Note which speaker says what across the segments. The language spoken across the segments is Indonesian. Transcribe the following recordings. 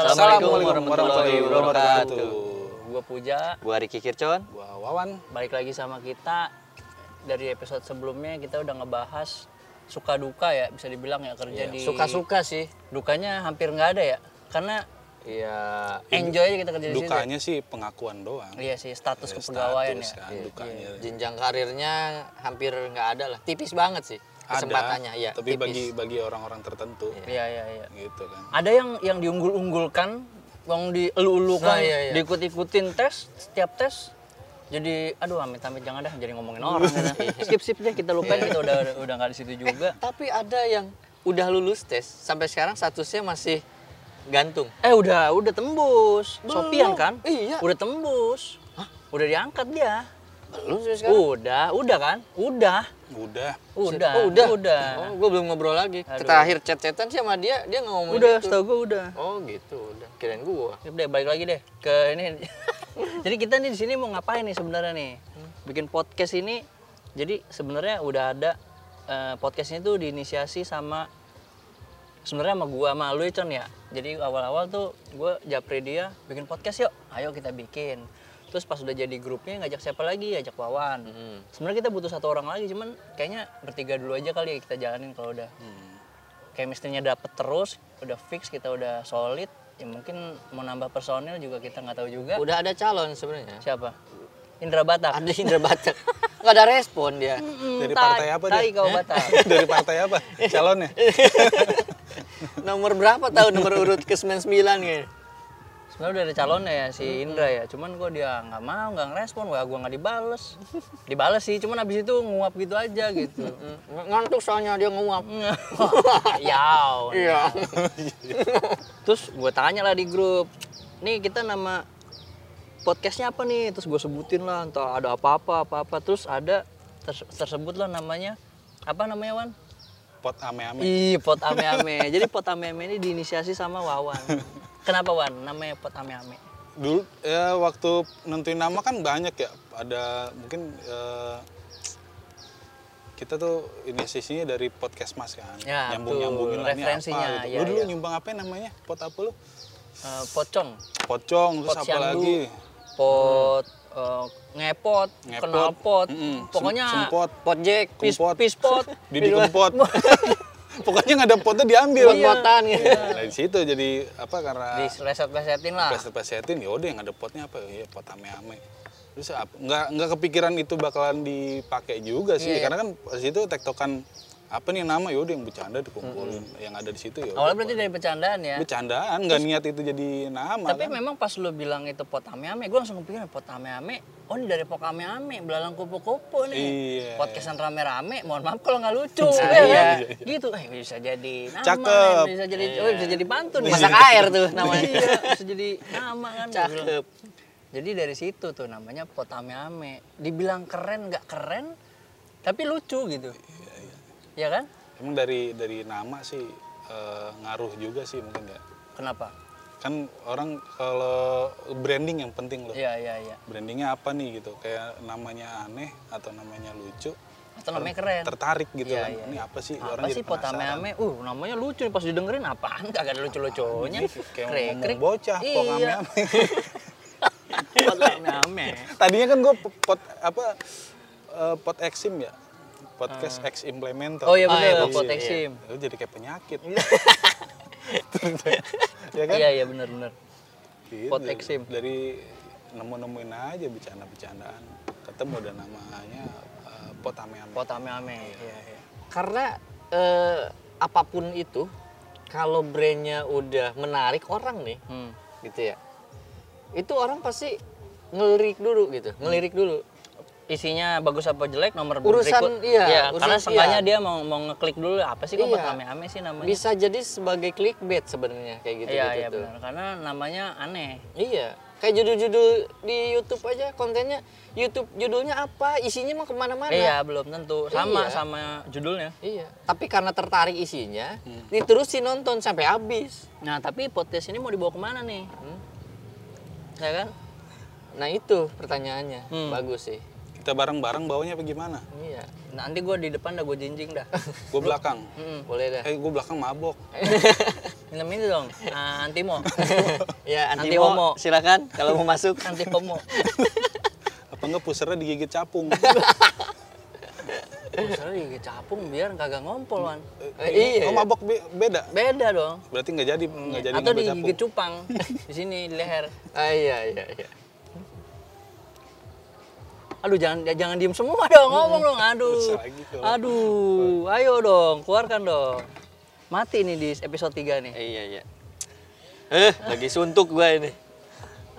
Speaker 1: Assalamualaikum warahmatullahi
Speaker 2: warahmatullahi
Speaker 1: wabarakatuh.
Speaker 2: wabarakatuh.
Speaker 1: Gue Puja,
Speaker 2: Gua Riki Kircon.
Speaker 3: Gua Wawan.
Speaker 1: balik lagi sama kita. Dari episode sebelumnya kita udah ngebahas suka duka ya, bisa dibilang ya kerja di
Speaker 3: Suka-suka sih.
Speaker 1: Dukanya hampir nggak ada ya, karena
Speaker 3: Iya.
Speaker 1: enjoy aja kita kerja di situ. ya.
Speaker 2: Dukanya sih pengakuan doang.
Speaker 1: Iya sih, status
Speaker 2: Ada
Speaker 1: kepegawaian ya.
Speaker 2: status kan, dukanya.
Speaker 3: Jenjang karirnya hampir nggak ada lah. Tipis banget sih
Speaker 2: Ada,
Speaker 3: kesempatannya. Iya. tipis.
Speaker 2: Tapi bagi bagi orang-orang tertentu
Speaker 1: Iya iya iya.
Speaker 2: gitu kan.
Speaker 1: Ada yang yang diunggul-unggulkan, yang dielu-elukan,
Speaker 3: Nah, iya, iya.
Speaker 1: diikut-ikutin tes, setiap tes jadi aduh amit-amit jangan dah jadi ngomongin orang skip skip deh kita lupain
Speaker 3: gitu.
Speaker 1: kita udah udah nggak di situ juga
Speaker 3: Tapi ada yang udah lulus tes sampai sekarang statusnya masih gantung.
Speaker 1: Eh udah udah tembus. Sopian kan?
Speaker 3: Iya.
Speaker 1: Udah tembus. Udah diangkat dia.
Speaker 3: Belum sih
Speaker 1: Udah, udah kan? Udah.
Speaker 2: Udah.
Speaker 1: Udah.
Speaker 3: Oh, udah.
Speaker 1: Udah.
Speaker 3: Oh, gua belum ngobrol lagi. Terakhir chat-chatan sih sama dia, dia nggak ngomong
Speaker 1: udah,
Speaker 3: gitu.
Speaker 1: setahu gue udah.
Speaker 3: Oh, gitu. Udah. Kirain gua.
Speaker 1: Yuk deh, balik lagi deh ke ini. jadi kita nih di sini mau ngapain nih sebenarnya nih? Bikin podcast ini. Jadi sebenarnya udah ada eh, podcast ini tuh diinisiasi sama sebenarnya sama gua sama lu ya, Con ya. Jadi awal-awal tuh gua japri dia bikin podcast yuk. Ayo kita bikin. Terus pas udah jadi grupnya ngajak siapa lagi? Ajak Wawan.
Speaker 3: Hmm.
Speaker 1: Sebenarnya kita butuh satu orang lagi, cuman kayaknya bertiga dulu aja kali ya kita jalanin kalau udah
Speaker 2: Hmm.
Speaker 1: chemistry-nya dapet terus, udah fix, kita udah solid. Ya mungkin mau nambah personil juga kita nggak tahu juga.
Speaker 3: Udah ada calon sebenarnya.
Speaker 1: Siapa? Indra Batak. Hmm,
Speaker 3: Ada Indra Batak. Nggak ada respon dia.
Speaker 2: Ah, Dari partai apa
Speaker 1: tai
Speaker 2: dia?
Speaker 1: kau Batak.
Speaker 2: Dari partai apa? Calonnya?
Speaker 3: nomor berapa tahu nomor urut ke gitu. 99 kayaknya.
Speaker 1: Sebenarnya udah ada calonnya ya si
Speaker 2: Hmm.
Speaker 1: Indra ya, cuman kok dia nggak mau, nggak ngerespon, wah gua nggak dibales. Dibales sih, cuman abis itu nguap gitu aja gitu.
Speaker 2: Hmm.
Speaker 3: Mm, ngantuk soalnya dia nguap
Speaker 1: Yau.
Speaker 3: iya
Speaker 1: Terus gue tanya lah di grup, nih kita nama podcastnya apa nih? Terus gue sebutin lah, entah ada apa-apa, apa-apa. Terus ada terse- tersebut lah namanya, apa namanya Wan?
Speaker 2: Pot ame-ame.
Speaker 1: Ih, pot ame-ame. Jadi pot ame-ame ini diinisiasi sama Wawan. Kenapa Wan? Namanya pot ame-ame.
Speaker 2: Dulu ya waktu nentuin nama kan banyak ya. Ada mungkin eh, kita tuh inisiasinya dari podcast mas kan.
Speaker 1: Ya,
Speaker 2: Nyambung-nyambungin
Speaker 1: betul.
Speaker 2: lah ini apa
Speaker 1: Referensinya,
Speaker 2: gitu.
Speaker 1: iya,
Speaker 2: Lu dulu
Speaker 1: iya.
Speaker 2: nyumbang apa namanya? Pot apa lu?
Speaker 1: Eh, pocong,
Speaker 2: Pocong, terus
Speaker 1: pot
Speaker 2: apa
Speaker 1: siandu,
Speaker 2: lagi?
Speaker 1: pot eh, ngepot,
Speaker 2: Ngepot.
Speaker 1: kenal pot,
Speaker 2: Mm-mm. Sem-
Speaker 1: pokoknya
Speaker 2: sempot.
Speaker 3: Jack
Speaker 1: pis,
Speaker 2: Kumpot.
Speaker 1: pispot.
Speaker 2: Didi
Speaker 1: Iya.
Speaker 2: Kempot. Pokoknya nggak ada potnya diambil.
Speaker 3: pot-potan gitu
Speaker 2: Iya, Nah, di situ jadi apa karena
Speaker 1: dileset-lesetin lah.
Speaker 2: peset-pesetin ya udah yang ada potnya apa ya pot ame-ame. Terus ap- nggak nggak kepikiran itu bakalan dipakai juga sih
Speaker 1: Iya.
Speaker 2: karena kan pas itu tektokan apa nih nama ya udah yang bercanda dikumpulin yang ada di situ ya.
Speaker 1: Awalnya
Speaker 2: udah
Speaker 1: berarti dari bercandaan ya.
Speaker 2: bercandaan nggak niat itu jadi nama
Speaker 1: Tapi
Speaker 2: kan.
Speaker 1: memang pas lu bilang itu pot ame-ame, gue langsung kepikiran pot ame-ame. Oh ini dari pok ame-ame, belalang kupu-kupu nih.
Speaker 2: Iya.
Speaker 1: Podcastan rame-rame, mohon maaf kalau nggak lucu. ya
Speaker 3: iya.
Speaker 1: kan? Gitu, eh bisa jadi nama,
Speaker 2: Cakep.
Speaker 1: bisa jadi, oh, bisa jadi pantun.
Speaker 3: masak
Speaker 1: Iya.
Speaker 3: air tuh namanya
Speaker 1: Iya, bisa jadi nama kan. Gua bilang.
Speaker 3: Cakep.
Speaker 1: Jadi dari situ tuh namanya pot ame-ame. Dibilang keren nggak keren, tapi lucu gitu. Iya, iya. kan?
Speaker 2: Emang dari dari nama sih eh, ngaruh juga sih mungkin ya.
Speaker 1: Kenapa?
Speaker 2: Kan orang kalau branding yang penting loh.
Speaker 1: Iya, iya, iya.
Speaker 2: brandingnya apa nih gitu kayak namanya aneh atau namanya lucu
Speaker 1: Atau namanya keren.
Speaker 2: tertarik gitu
Speaker 1: Iya,
Speaker 2: kan
Speaker 1: iya,
Speaker 2: ini apa sih
Speaker 1: apa sih pot ame-ame? Uh, namanya lucu nih pas didengerin apaan? Kagak ada lucu-lucunya.
Speaker 2: kayak
Speaker 1: Krik,
Speaker 2: ngomong
Speaker 1: krik.
Speaker 2: bocah pot
Speaker 1: Iya,
Speaker 2: ame-ame.
Speaker 1: pot ame-ame.
Speaker 2: tadinya kan gue pot apa eh, pot eksim ya podcast ex implementer
Speaker 1: Oh iya
Speaker 3: Ah, iya,
Speaker 1: bener, pot
Speaker 3: pot iya.
Speaker 1: eksim.
Speaker 2: Lu jadi kayak penyakit ya kan
Speaker 1: Iya, iya bener-bener.
Speaker 2: Gitu.
Speaker 1: pot eksim.
Speaker 2: dari nemu-nemuin aja bercanda-bercandaan ketemu dan namanya eh, pot ame-ame
Speaker 1: Pot ame-ame. Iya, iya.
Speaker 3: karena eh, apapun itu kalau brandnya udah menarik orang nih
Speaker 1: Hmm.
Speaker 3: gitu ya itu orang pasti ngelirik dulu gitu ngelirik
Speaker 1: Hmm.
Speaker 3: dulu
Speaker 1: Isinya bagus apa jelek nomor
Speaker 3: Urusan,
Speaker 1: berikut.
Speaker 3: iya,
Speaker 1: karena
Speaker 3: urusan,
Speaker 1: seenggaknya
Speaker 3: iya.
Speaker 1: dia mau mau ngeklik dulu apa sih kok pot
Speaker 3: Iya.
Speaker 1: ame-ame sih namanya?
Speaker 3: bisa jadi sebagai clickbait sebenarnya kayak gitu
Speaker 1: iya,
Speaker 3: gitu
Speaker 1: iya
Speaker 3: tuh.
Speaker 1: benar. Karena namanya aneh.
Speaker 3: Iya, kayak judul-judul di YouTube aja kontennya YouTube judulnya apa, isinya mah kemana-mana.
Speaker 1: Iya, belum tentu. Sama
Speaker 3: Iya.
Speaker 1: sama judulnya.
Speaker 3: Iya. Tapi karena tertarik isinya,
Speaker 1: Hmm.
Speaker 3: diterusin nonton sampai habis.
Speaker 1: Nah, tapi podcast ini mau dibawa kemana nih? Hmm? Ya kan?
Speaker 3: Nah itu pertanyaannya,
Speaker 1: Hmm.
Speaker 3: bagus sih.
Speaker 2: kita bareng-bareng bawanya apa gimana
Speaker 3: Iya,
Speaker 1: Nanti gue di depan dah gue jinjing dah. Hmm.
Speaker 2: gue belakang
Speaker 3: boleh dah.
Speaker 2: eh gue belakang mabok
Speaker 1: Minum ini dong. Ah, antimo.
Speaker 3: ya
Speaker 1: anti
Speaker 3: anti, homo.
Speaker 1: homo. Silakan.
Speaker 3: Kalau mau masuk
Speaker 1: Anti Oh, homo.
Speaker 2: Apa enggak pusernya digigit capung?
Speaker 1: Masalah gigit capung biar kagak ngompol, Wan.
Speaker 3: Eh, iya.
Speaker 2: Oh mabok be- beda.
Speaker 1: Beda dong.
Speaker 2: Berarti nggak jadi nggak jadi
Speaker 1: Atau
Speaker 2: ngambil
Speaker 1: digigit cupang di sini di leher.
Speaker 3: Ah, iya iya iya.
Speaker 1: Aduh jangan ya, jangan diem semua dong ngomong dong. Aduh.
Speaker 2: Bisa lagi kalau-
Speaker 1: Aduh, ayo dong, keluarkan dong. Mati nih di episode 3 nih.
Speaker 3: Eh, iya iya. Eh, lagi suntuk gua ini.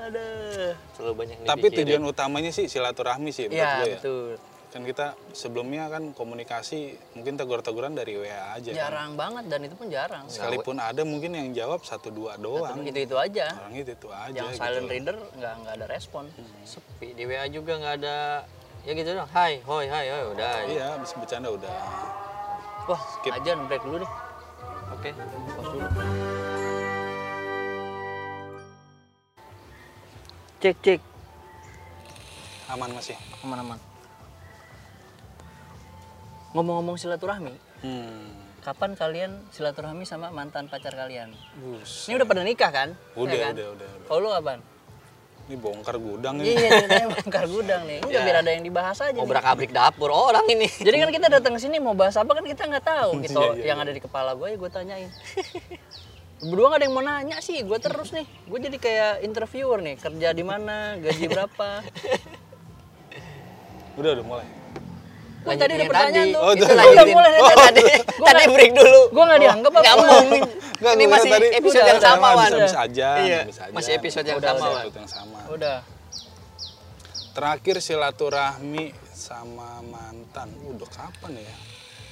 Speaker 1: Aduh.
Speaker 3: Terlalu banyak
Speaker 2: Tapi
Speaker 3: dipikirin.
Speaker 2: tujuan utamanya sih silaturahmi sih menurut
Speaker 1: Iya,
Speaker 2: gue ya.
Speaker 1: betul.
Speaker 2: Kan kita sebelumnya kan komunikasi mungkin tegur-teguran dari WA aja. kan.
Speaker 1: Jarang banget dan itu pun jarang.
Speaker 2: Sekalipun ada mungkin yang jawab satu dua doang.
Speaker 1: Itu-itu aja.
Speaker 2: Orang itu itu aja.
Speaker 1: yang
Speaker 2: gitu. Hmm.
Speaker 1: silent reader nggak nggak ada respon.
Speaker 3: sepi di WA juga nggak ada ya gitu dong. Hai, hoi, hai, hoi, udah.
Speaker 2: Iya, habis bercanda udah.
Speaker 1: Wah, aja break dulu deh.
Speaker 3: Oke.
Speaker 1: Pause dulu. Cek cek
Speaker 2: Aman masih.
Speaker 1: aman-aman. Ngomong-ngomong silaturahmi,
Speaker 2: Hmm.
Speaker 1: kapan kalian silaturahmi sama mantan pacar kalian?
Speaker 2: Bus.
Speaker 1: Ini udah pada nikah kan?
Speaker 2: Udah,
Speaker 1: Iya kan?
Speaker 2: udah, udah, udah.
Speaker 1: Kalau lu apaan?
Speaker 2: Ini bongkar gudang ini.
Speaker 1: Iya, ceritanya bongkar gudang nih. Enggak
Speaker 2: Iya.
Speaker 3: Ya.
Speaker 1: biar ada yang dibahas aja. nih.
Speaker 3: Obrak-abrik dapur orang ini.
Speaker 1: Jadi kan kita datang ke sini mau bahas apa kan kita nggak tahu. Gitu
Speaker 2: Iya, iya,
Speaker 1: yang ada di kepala gue, gue tanyain. Berdua nggak ada yang mau nanya sih, gue terus nih. Gue jadi kayak interviewer nih, kerja di mana, gaji berapa.
Speaker 2: Udah udah mulai.
Speaker 1: Kan
Speaker 3: Lanjutin
Speaker 1: tadi ada
Speaker 3: yang
Speaker 1: pertanyaan
Speaker 3: tadi.
Speaker 1: tuh.
Speaker 2: Oh,
Speaker 1: itu
Speaker 2: tadi.
Speaker 1: lagi mulai
Speaker 3: Oh, tadi tadi break dulu.
Speaker 1: Gue nggak dianggap apa.
Speaker 3: Nggak
Speaker 1: apa.
Speaker 3: mau. Ini
Speaker 2: gua
Speaker 3: masih
Speaker 2: tadi
Speaker 3: episode
Speaker 1: udah,
Speaker 3: yang sama,
Speaker 2: emang
Speaker 3: Wan.
Speaker 2: Habis, habis aja,
Speaker 3: Iya,
Speaker 2: habis aja.
Speaker 3: masih episode yang
Speaker 2: Udah,
Speaker 3: sama,
Speaker 2: udah,
Speaker 3: Wan.
Speaker 2: episode yang sama.
Speaker 1: Udah.
Speaker 2: Terakhir silaturahmi sama mantan. Udah kapan ya?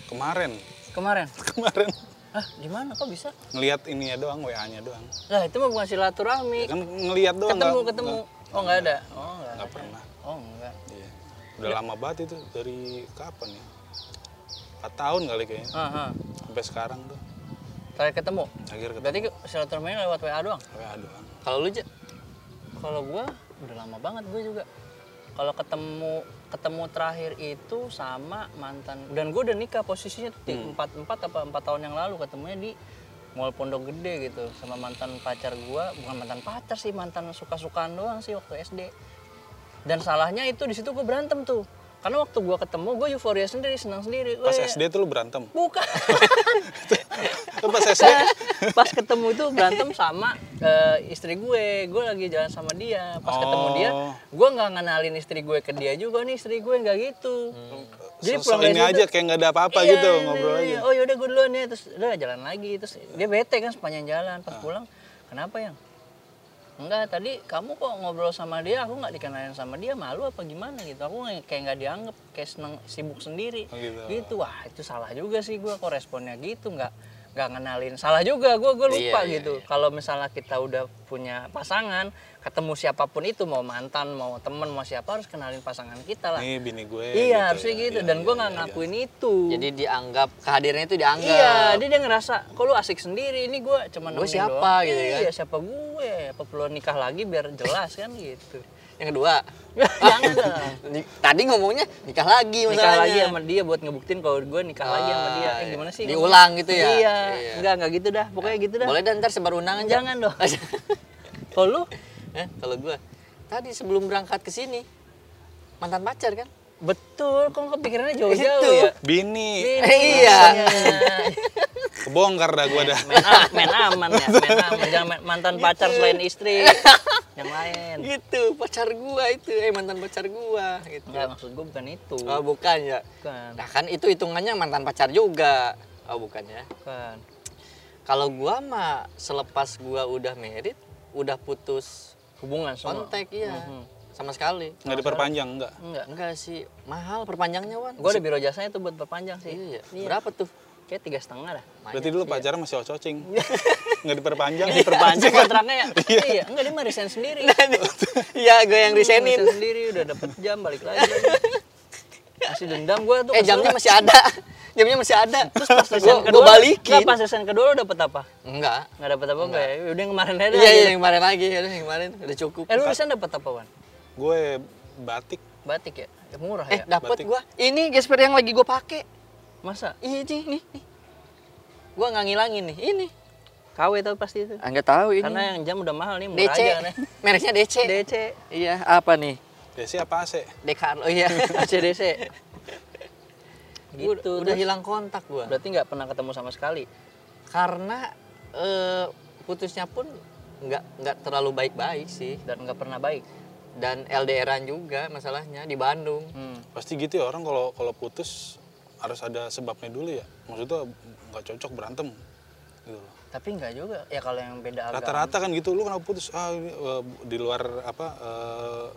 Speaker 2: Kemarin,
Speaker 1: Kemarin.
Speaker 2: kemarin
Speaker 1: Ah, gimana kok bisa?
Speaker 2: ngelihat ininya doang, WA-nya doang.
Speaker 1: Lah itu mah bukan silaturahmi.
Speaker 2: Kan ngelihat doang.
Speaker 1: Ketemu,
Speaker 2: nggak-
Speaker 1: ketemu.
Speaker 2: nggak-
Speaker 1: Oh nggak ada. Oh nggak.
Speaker 2: nggak pernah.
Speaker 1: Oh nggak.
Speaker 2: Iya. Udah lama banget itu dari kapan ya? 4 tahun kali kayaknya.
Speaker 1: Ah, ah.
Speaker 2: Sampai sekarang tuh.
Speaker 1: Terakhir ketemu.
Speaker 2: Akhir ketemu
Speaker 1: Berarti silaturahmi lewat WA doang.
Speaker 2: WA doang.
Speaker 3: Kalau lu, Ja?
Speaker 1: Kalau gua udah lama banget gue juga. Kalau ketemu ketemu terakhir itu sama mantan dan gue udah nikah posisinya tuh empat empat apa empat tahun yang lalu ketemunya di Mall Pondok Gede gitu sama mantan pacar gua bukan mantan pacar sih mantan suka sukaan doang sih waktu SD dan salahnya itu di situ gue berantem tuh karena waktu gua ketemu gue euforia sendiri senang sendiri
Speaker 2: Pas
Speaker 1: Weh,
Speaker 2: SD tuh lu berantem.
Speaker 1: bukan
Speaker 2: Lu pas SD
Speaker 1: pas ketemu itu berantem sama eh, istri gue gue lagi jalan sama dia pas ketemu dia
Speaker 2: Oh.
Speaker 1: gue nggak ngenalin istri gue ke dia juga nih istri gue nggak gitu
Speaker 2: Jadi
Speaker 1: pulang dari
Speaker 2: Hmm. ini
Speaker 1: situ,
Speaker 2: aja kayak nggak ada apa-apa
Speaker 1: iya,
Speaker 2: gitu
Speaker 1: iya,
Speaker 2: ngobrol
Speaker 1: iya.
Speaker 2: aja.
Speaker 1: oh yaudah gue duluan ya terus udah jalan lagi terus dia bete kan sepanjang jalan pas
Speaker 2: Ah.
Speaker 1: pulang kenapa yang Enggak, tadi kamu kok ngobrol sama dia, aku nggak dikenalin sama dia, malu apa gimana gitu. Aku nggak- kayak nggak dianggap, kayak seneng sibuk sendiri.
Speaker 2: Oh, gitu.
Speaker 1: wah itu salah juga sih gue kok responnya gitu, nggak nggak ngenalin. Salah juga gue, gue lupa
Speaker 3: Iya, iya,
Speaker 1: gitu. Kalau misalnya kita udah punya pasangan, ketemu siapapun itu, mau mantan, mau temen, mau siapa harus kenalin pasangan kita lah.
Speaker 2: Nih bini gue.
Speaker 1: iya,
Speaker 2: gitu
Speaker 1: harusnya
Speaker 2: ya.
Speaker 1: gitu.
Speaker 2: Iya,
Speaker 1: Dan gue
Speaker 2: iya,
Speaker 1: nggak
Speaker 2: iya, iya.
Speaker 1: ngakuin itu.
Speaker 3: Jadi dianggap kehadirannya itu dianggap.
Speaker 1: Iya, dia, dia ngerasa kok lu asik sendiri, ini gua cuman
Speaker 3: Gua
Speaker 1: nemenin
Speaker 3: siapa
Speaker 1: doang.
Speaker 3: gitu kan?
Speaker 1: Iya, siapa gue? Apa perlu nikah lagi biar jelas kan gitu.
Speaker 3: Yang kedua,
Speaker 1: Jangan dong.
Speaker 3: ni- tadi ngomongnya nikah
Speaker 1: Nikah
Speaker 3: lagi Iya, masalahnya.
Speaker 1: lagi sama dia buat ngebuktiin kalau gue nikah lagi sama dia.
Speaker 3: Ah,
Speaker 1: Eh,
Speaker 3: iya.
Speaker 1: gimana sih?
Speaker 3: Diulang gitu ya?
Speaker 1: Iya,
Speaker 3: Iya.
Speaker 1: enggak enggak gitu dah. Pokoknya gitu dah.
Speaker 3: Boleh dan ntar sebar undangan Ja?
Speaker 1: Jangan dong. Kalau lu
Speaker 3: Eh, kalau gua tadi sebelum berangkat ke sini mantan pacar kan?
Speaker 1: betul kok kepikirannya
Speaker 3: Itu.
Speaker 1: jauh-jauh ya.
Speaker 2: Bini,
Speaker 3: Iya.
Speaker 2: kebongkar dah gue dah.
Speaker 1: main, a- main aman ya, main aman. Jangan main- mantan pacar selain istri. Yang lain.
Speaker 3: Gitu, pacar gua itu, eh mantan pacar gua gitu.
Speaker 1: Enggak, maksud gue bukan itu.
Speaker 3: Oh, bukan ya.
Speaker 1: Bukan.
Speaker 3: Nah, kan itu hitungannya mantan pacar juga. Oh, bukan ya.
Speaker 1: Bukan.
Speaker 3: Kalau gua mah selepas gua udah merit, udah putus
Speaker 1: Hubungan semua.
Speaker 3: kontak iya.
Speaker 1: Mm-hmm.
Speaker 3: Sama sekali.
Speaker 2: Nggak diperpanjang enggak.
Speaker 1: Enggak.
Speaker 3: Enggak sih, mahal perpanjangnya, Wan.
Speaker 1: Gue ada biro jasanya tuh buat perpanjang sih.
Speaker 3: Iya, iya. Berapa tuh?
Speaker 1: Kayak tiga setengah dah.
Speaker 2: Berarti dulu pacaran masih ococing. Nggak diperpanjang.
Speaker 1: Perpanjang kontraknya ya? Iya. Enggak, dia mah resign sendiri.
Speaker 3: Nah, Iya, gue yang
Speaker 1: Resign
Speaker 3: resenin.
Speaker 1: sendiri, udah dapet jam, balik lagi. Masih dendam gue tuh.
Speaker 3: Eh,
Speaker 1: kesel.
Speaker 3: jamnya masih ada. Jamnya masih ada. Terus pas
Speaker 1: Resign
Speaker 3: gue
Speaker 1: kedua,
Speaker 3: balikin.
Speaker 1: Enggak, pas resign kedua lo dapet apa?
Speaker 3: Enggak.
Speaker 1: Enggak dapet apa gue ya? Udah yang kemarin aja.
Speaker 3: Iya, iya,
Speaker 1: gitu.
Speaker 3: yang kemarin lagi, udah yang kemarin udah cukup.
Speaker 1: Eh, lu resign dapet apa, Wan?
Speaker 2: gue batik.
Speaker 1: Batik ya? Ya, Murah
Speaker 3: Eh,
Speaker 1: ya?
Speaker 3: dapat
Speaker 2: batik.
Speaker 3: gua. Ini gesper yang lagi gua pakai.
Speaker 1: Masa?
Speaker 3: Ini nih, nih. Gua nggak ngilangin nih. Ini.
Speaker 1: KW tapi pasti itu.
Speaker 4: Ah, nggak tahu ini.
Speaker 1: Karena yang jam udah mahal nih, murah aja.
Speaker 3: DC.
Speaker 1: kan ya. Nih.
Speaker 3: Mereknya DC.
Speaker 1: DC.
Speaker 4: Iya, apa nih?
Speaker 2: Desi apa AC?
Speaker 3: Dekan. Oh iya.
Speaker 1: ACDC.
Speaker 3: Gua
Speaker 1: gitu.
Speaker 3: udah
Speaker 1: terus
Speaker 3: hilang kontak gua.
Speaker 1: Berarti nggak pernah ketemu sama sekali.
Speaker 3: Karena eh, putusnya pun nggak nggak terlalu baik-baik sih
Speaker 1: Dan nggak pernah baik.
Speaker 3: dan LDRan juga masalahnya di Bandung.
Speaker 1: Hmm.
Speaker 2: Pasti gitu ya orang kalau kalau putus harus ada sebabnya dulu ya. Maksudnya nggak cocok berantem. Gitu loh.
Speaker 1: Tapi nggak juga. Ya kalau yang beda agama.
Speaker 2: Rata-rata kan gitu lu kenapa putus? Ah ini, eh, di luar apa eh,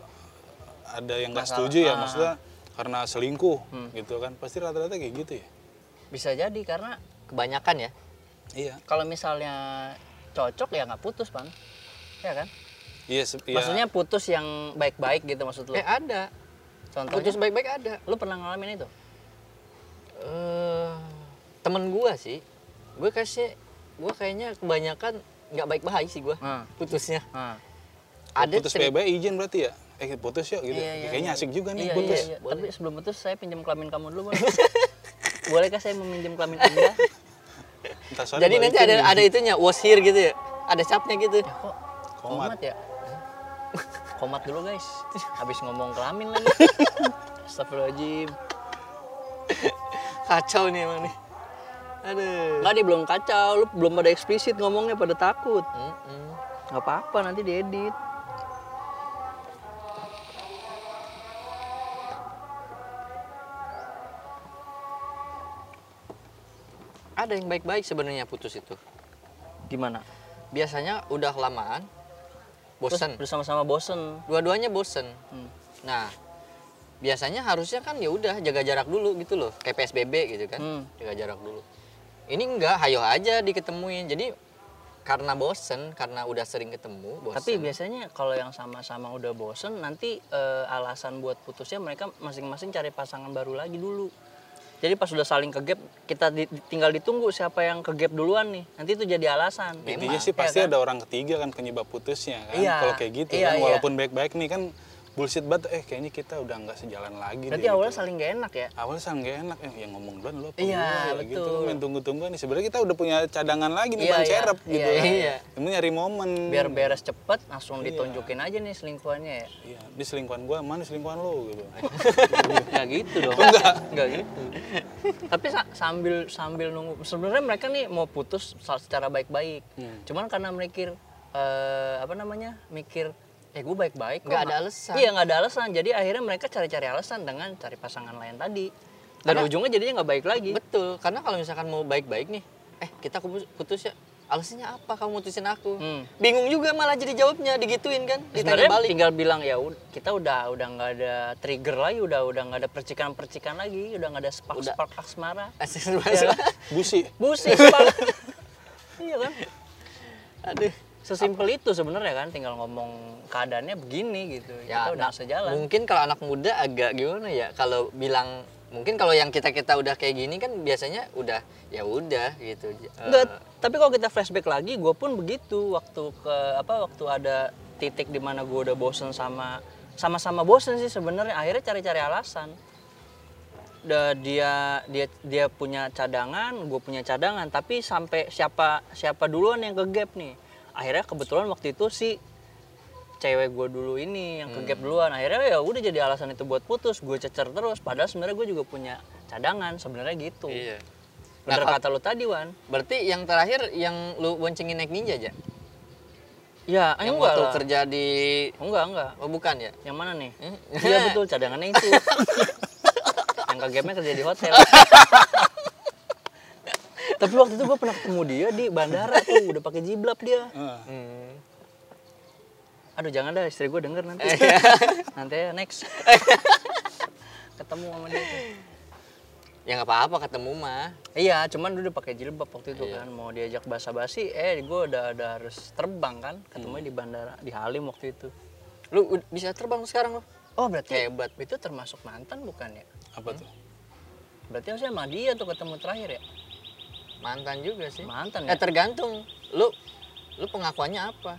Speaker 2: ada yang nggak
Speaker 1: Masalah.
Speaker 2: setuju ya
Speaker 1: Ah. Hmm.
Speaker 2: maksudnya karena selingkuh gitu kan. Pasti rata-rata kayak gitu ya.
Speaker 1: Bisa jadi karena
Speaker 3: Kebanyakan ya.
Speaker 2: Iya.
Speaker 1: kalau misalnya cocok ya nggak putus, Pan. Ya kan?
Speaker 2: Iya, se- iya.
Speaker 1: Maksudnya putus yang baik-baik gitu maksud lu.
Speaker 3: Eh ada.
Speaker 1: Contohnya,
Speaker 3: Putus baik-baik ada.
Speaker 1: lu pernah ngalamin itu?
Speaker 3: eh temen gua sih. Gue kasih gua kayaknya kebanyakan nggak baik-baik sih gua
Speaker 1: Hmm.
Speaker 3: putusnya.
Speaker 1: Hmm.
Speaker 3: Ada
Speaker 2: putus
Speaker 3: cerita-
Speaker 2: PB izin berarti ya? Eh putus yuk gitu.
Speaker 1: Iya, iya,
Speaker 2: Kayaknya
Speaker 1: iya.
Speaker 2: asik juga nih
Speaker 1: Iya,
Speaker 2: putus.
Speaker 1: iya, iya. Tapi sebelum putus saya pinjam kelamin kamu dulu, boleh? Bolehkah saya meminjam kelamin Anda?
Speaker 2: Entar sore
Speaker 3: Jadi nanti
Speaker 2: balikin
Speaker 3: ada
Speaker 2: gitu.
Speaker 3: ada itunya was here gitu ya. Ada capnya gitu.
Speaker 1: Ya kok
Speaker 2: Komat.
Speaker 1: komat, ya? Komat dulu guys. Habis ngomong kelamin lagi. Astagfirullahaladzim.
Speaker 3: Kacau nih emang nih. Aduh.
Speaker 1: Enggak, dia belum kacau. Lu belum pada eksplisit ngomongnya pada takut.
Speaker 3: Mm-mm.
Speaker 1: Nggak apa-apa, nanti diedit.
Speaker 3: Ada yang baik-baik sebenarnya putus itu.
Speaker 1: Gimana?
Speaker 3: Biasanya udah kelamaan bosen.
Speaker 1: Terus bersama-sama bosen.
Speaker 3: Dua-duanya bosen.
Speaker 1: Hmm.
Speaker 3: Nah, biasanya harusnya kan ya udah jaga jarak dulu gitu loh, kayak PSBB gitu kan,
Speaker 1: Hmm.
Speaker 3: jaga jarak dulu. Ini enggak, hayo aja diketemuin. Jadi karena bosen, karena udah sering ketemu, bosen.
Speaker 1: Tapi biasanya kalau yang sama-sama udah bosen, nanti eh, alasan buat putusnya mereka masing-masing cari pasangan baru lagi dulu. Jadi pas udah saling kegap, kita di- di- tinggal ditunggu siapa yang kegap duluan nih. Nanti itu jadi alasan.
Speaker 2: Intinya sih
Speaker 1: Iya
Speaker 2: pasti
Speaker 1: kan?
Speaker 2: ada orang ketiga kan penyebab putusnya kan.
Speaker 1: Iya.
Speaker 2: Kalau kayak gitu
Speaker 1: Iya,
Speaker 2: kan
Speaker 1: iya.
Speaker 2: walaupun baik-baik nih kan bullshit banget eh kayaknya kita udah nggak sejalan lagi
Speaker 1: Berarti
Speaker 2: deh, gitu.
Speaker 1: awalnya saling gak enak ya?
Speaker 2: awalnya sang gak enak eh, yang ngomong duluan lu apa
Speaker 1: Iya,
Speaker 2: gua? Ya gitu
Speaker 1: betul.
Speaker 2: main tunggu-tungguan nih sebenarnya kita udah punya cadangan lagi nih
Speaker 1: Iya,
Speaker 2: bang
Speaker 1: iya.
Speaker 2: cerep gitu
Speaker 1: Iya,
Speaker 2: kan.
Speaker 1: iya.
Speaker 2: Cuma nyari momen
Speaker 1: Biar beres cepet, langsung ditunjukin aja nih selingkuhannya ya.
Speaker 2: iya di selingkuhan gua mana selingkuhan lu gitu
Speaker 1: Nggak gitu dong. Enggak. gitu. Tapi sa- sambil sambil nunggu sebenarnya mereka nih mau putus sa- secara baik-baik.
Speaker 3: Hmm.
Speaker 1: Cuman karena mikir eh, apa namanya? mikir eh gue baik-baik kok
Speaker 3: Nggak ada
Speaker 1: nggak-
Speaker 3: alasan.
Speaker 1: Iya, nggak ada alasan. Jadi akhirnya mereka cari-cari alasan dengan cari pasangan lain tadi. Dan ujungnya jadinya nggak baik lagi.
Speaker 3: betul, karena kalau misalkan mau baik-baik nih, eh kita kubus- putus ya. Alasannya apa kamu mutusin aku?
Speaker 1: Hmm.
Speaker 3: Bingung juga malah jadi jawabnya digituin kan, ditanya
Speaker 1: Sebenarnya
Speaker 3: balik.
Speaker 1: tinggal bilang ya ud- kita udah udah nggak ada trigger lagi, udah udah nggak ada percikan-percikan lagi, udah nggak ada spark-spark asmara.
Speaker 3: Asik-
Speaker 1: ya.
Speaker 2: busi
Speaker 1: Busi spark. iya kan?
Speaker 3: Aduh.
Speaker 1: sesimpel itu sebenarnya kan tinggal ngomong keadaannya begini gitu ya, kita udah
Speaker 3: anak-
Speaker 1: sejalan
Speaker 3: Mungkin kalau anak muda agak gimana ya kalau bilang mungkin kalau yang kita kita udah kayak gini kan biasanya udah ya udah gitu. Eh,
Speaker 1: enggak tapi kalau kita flashback lagi gue pun begitu waktu ke apa waktu ada titik di mana gue udah bosen sama sama-sama bosen sih sebenarnya akhirnya cari-cari alasan Da- dia dia dia punya cadangan gue punya cadangan tapi sampai siapa siapa duluan yang ke gap nih akhirnya kebetulan waktu itu si cewek gue dulu ini yang ke gap
Speaker 3: Hmm.
Speaker 1: duluan akhirnya ya udah jadi alasan itu buat putus gue cecer terus padahal sebenarnya gue juga punya cadangan sebenarnya gitu
Speaker 3: Iya.
Speaker 1: bener
Speaker 3: Nah,
Speaker 1: kata lu tadi wan
Speaker 3: Berarti yang terakhir yang lu boncengin naik ninja aja.
Speaker 1: ya
Speaker 3: Yang
Speaker 1: enggak
Speaker 3: waktu
Speaker 1: lah.
Speaker 3: kerja di
Speaker 1: enggak enggak
Speaker 3: oh bukan ya?
Speaker 1: yang mana nih
Speaker 3: Hmm?
Speaker 1: iya betul cadangannya itu yang ke gapnya kerja di hotel tapi waktu itu gue pernah ketemu dia di bandara tuh udah pakai jiblap dia
Speaker 2: Heeh.
Speaker 3: Hmm.
Speaker 1: aduh jangan dah istri gue denger nanti
Speaker 3: Eh, iya.
Speaker 1: nanti ya next ketemu sama dia tuh.
Speaker 3: Ya nggak apa-apa ketemu mah.
Speaker 1: Iya, cuman dulu pakai jilbab waktu
Speaker 3: Iya.
Speaker 1: itu kan mau diajak basa-basi, eh gue udah, udah harus terbang kan,
Speaker 3: Hmm.
Speaker 1: ketemunya di bandara di Halim waktu itu.
Speaker 3: Lu ud- bisa terbang lu sekarang lu.
Speaker 1: Oh berarti
Speaker 3: Hebat.
Speaker 1: itu termasuk mantan bukan ya?
Speaker 2: apa tuh
Speaker 1: Berarti harusnya sama dia tuh ketemu terakhir ya?
Speaker 3: Mantan juga sih.
Speaker 1: Mantan
Speaker 3: Eh
Speaker 1: ya?
Speaker 3: tergantung lu lu pengakuannya apa?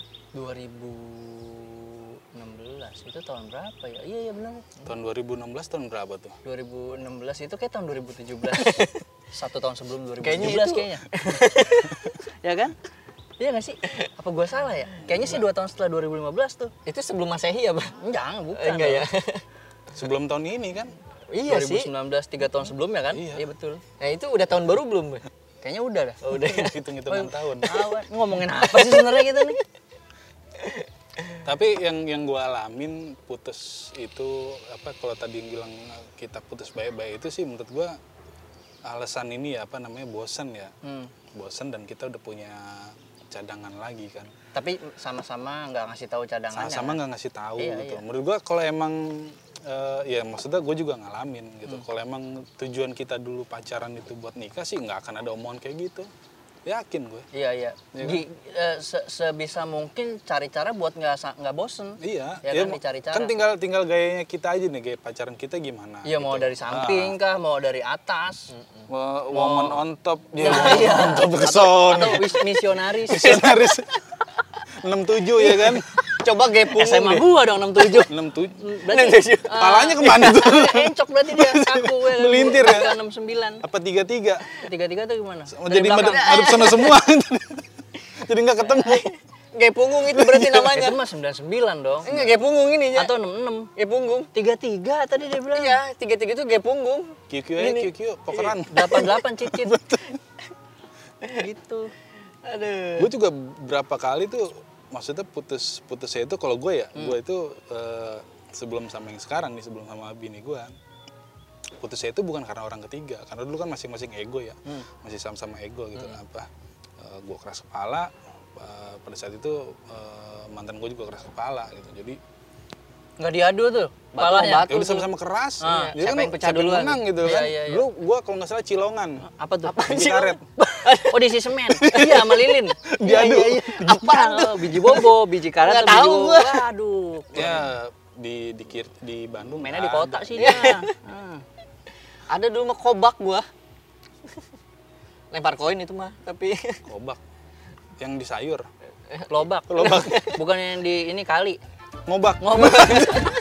Speaker 1: 2016 itu tahun berapa ya? Iya iya benar.
Speaker 2: tahun 2016 tahun berapa tuh
Speaker 1: 2016 itu kayak tahun 2017. Satu tahun sebelum 2017
Speaker 3: Kayaknya
Speaker 1: kayaknya.
Speaker 3: itu-
Speaker 1: ya kan? Iya nggak sih? Apa gua salah ya? Kayaknya sih dua tahun setelah 2015 tuh.
Speaker 3: Itu sebelum Masehi ya, Bang?
Speaker 1: Enggak, bukan.
Speaker 3: Eh, Enggak ya?
Speaker 2: Sebelum tahun ini kan?
Speaker 3: iya sih. Hmm.
Speaker 1: 2019 tiga tahun sebelumnya kan?
Speaker 2: Iya.
Speaker 1: betul.
Speaker 3: Nah, itu udah tahun baru belum, Bang?
Speaker 1: Kayaknya udah dah.
Speaker 3: Oh, udah.
Speaker 2: Hitung-hitungan tahun.
Speaker 1: Awan, ngomongin apa sih sebenarnya kita nih?
Speaker 2: Tapi yang yang gue alamin putus itu apa kalau tadi yang bilang kita putus baik-baik itu sih menurut gue alasan ini ya apa namanya bosan ya
Speaker 1: Hmm.
Speaker 2: bosan dan kita udah punya cadangan lagi kan
Speaker 1: Tapi sama-sama nggak ngasih tahu cadangannya.
Speaker 2: sama-sama nggak ngasih tahu
Speaker 1: Iya,
Speaker 2: gitu.
Speaker 1: iya.
Speaker 2: Menurut gua kalau emang eh, ya maksudnya gue juga ngalamin gitu. Kalau emang tujuan kita dulu pacaran itu buat nikah sih nggak akan ada omongan kayak gitu. Yakin gue.
Speaker 1: Iya iya. Di- eh, se- sebisa mungkin cari cara buat nggak sa- nggak bosen.
Speaker 2: Iya,
Speaker 1: Ya
Speaker 2: ya
Speaker 1: kan, dicari cara.
Speaker 2: kan tinggal tinggal gayanya kita aja nih gaya pacaran kita gimana.
Speaker 1: Iya mau
Speaker 2: gitu.
Speaker 1: dari samping kah, mau dari atas.
Speaker 2: Ah, wo- woman on top
Speaker 1: Iya,
Speaker 2: dia woman
Speaker 1: iya.
Speaker 2: on top ke
Speaker 1: Atau
Speaker 2: sono.
Speaker 1: wis- misionaris.
Speaker 2: Misionaris. 67 ya kan?
Speaker 3: Coba gepung
Speaker 1: SMA gua dong 67.
Speaker 2: 67.
Speaker 1: Berarti eh,
Speaker 2: Palanya kemana tuh?
Speaker 1: encok berarti dia kaku ya. kan?
Speaker 2: Melintir ya?
Speaker 1: Bukan 69.
Speaker 2: Apa 33?
Speaker 1: Tiga-tiga tuh gimana?
Speaker 2: Mau
Speaker 1: Dari
Speaker 2: jadi
Speaker 1: belakang.
Speaker 2: madep, madep sana semua. jadi nggak ketemu.
Speaker 3: Gepunggung itu berarti
Speaker 1: Iya,
Speaker 3: namanya.
Speaker 1: Itu mah 99 dong.
Speaker 3: Enggak gepunggung ini ya.
Speaker 1: Atau 66.
Speaker 3: gepunggung.
Speaker 1: 33 tadi dia bilang.
Speaker 3: Iya, tiga-tiga itu gepunggung.
Speaker 2: QQ ya, QQ, pokeran.
Speaker 1: 88 cicit. gitu.
Speaker 3: Aduh.
Speaker 2: Gue juga berapa kali tuh maksudnya putus putusnya itu kalau gue ya, gue itu eh, sebelum sama yang sekarang nih, sebelum sama bini gue putusnya itu bukan karena orang ketiga, karena dulu kan masing-masing ego ya, masih sama-sama ego gitu apa. Eh, gue keras kepala, eh, pada saat itu eh, mantan gue juga keras kepala gitu, jadi
Speaker 1: Nggak diadu tuh. Palanya.
Speaker 3: Batu.
Speaker 2: ya udah sama-sama keras,
Speaker 1: Oh, Ah,
Speaker 2: Jadi
Speaker 3: siapa yang pecah
Speaker 2: siapa
Speaker 3: duluan?
Speaker 2: menang gitu
Speaker 1: Iya,
Speaker 2: kan.
Speaker 1: iya, iya.
Speaker 2: Dulu gue kalau nggak salah Cilongan,
Speaker 1: Apa tuh?
Speaker 2: di karet.
Speaker 1: Oh diisi semen. Iya sama lilin.
Speaker 2: Diadu.
Speaker 1: Iya, iya, iya. Apa? Biji bobo, biji karet.
Speaker 3: Nggak
Speaker 1: atau
Speaker 3: tahu
Speaker 1: biji-
Speaker 3: gua.
Speaker 1: Waduh.
Speaker 2: Ya di di Kir- di Bandung.
Speaker 1: Iya. Mainnya di
Speaker 2: kan.
Speaker 1: kota sih dia. Hmm.
Speaker 3: Ada dulu mah kobak gua. Lempar koin itu mah, tapi
Speaker 2: Kobak. Yang di sayur.
Speaker 1: Eh, Lobak.
Speaker 2: Lobak.
Speaker 1: Bukan yang di ini kali.
Speaker 2: Ngobak.
Speaker 1: Ngobak.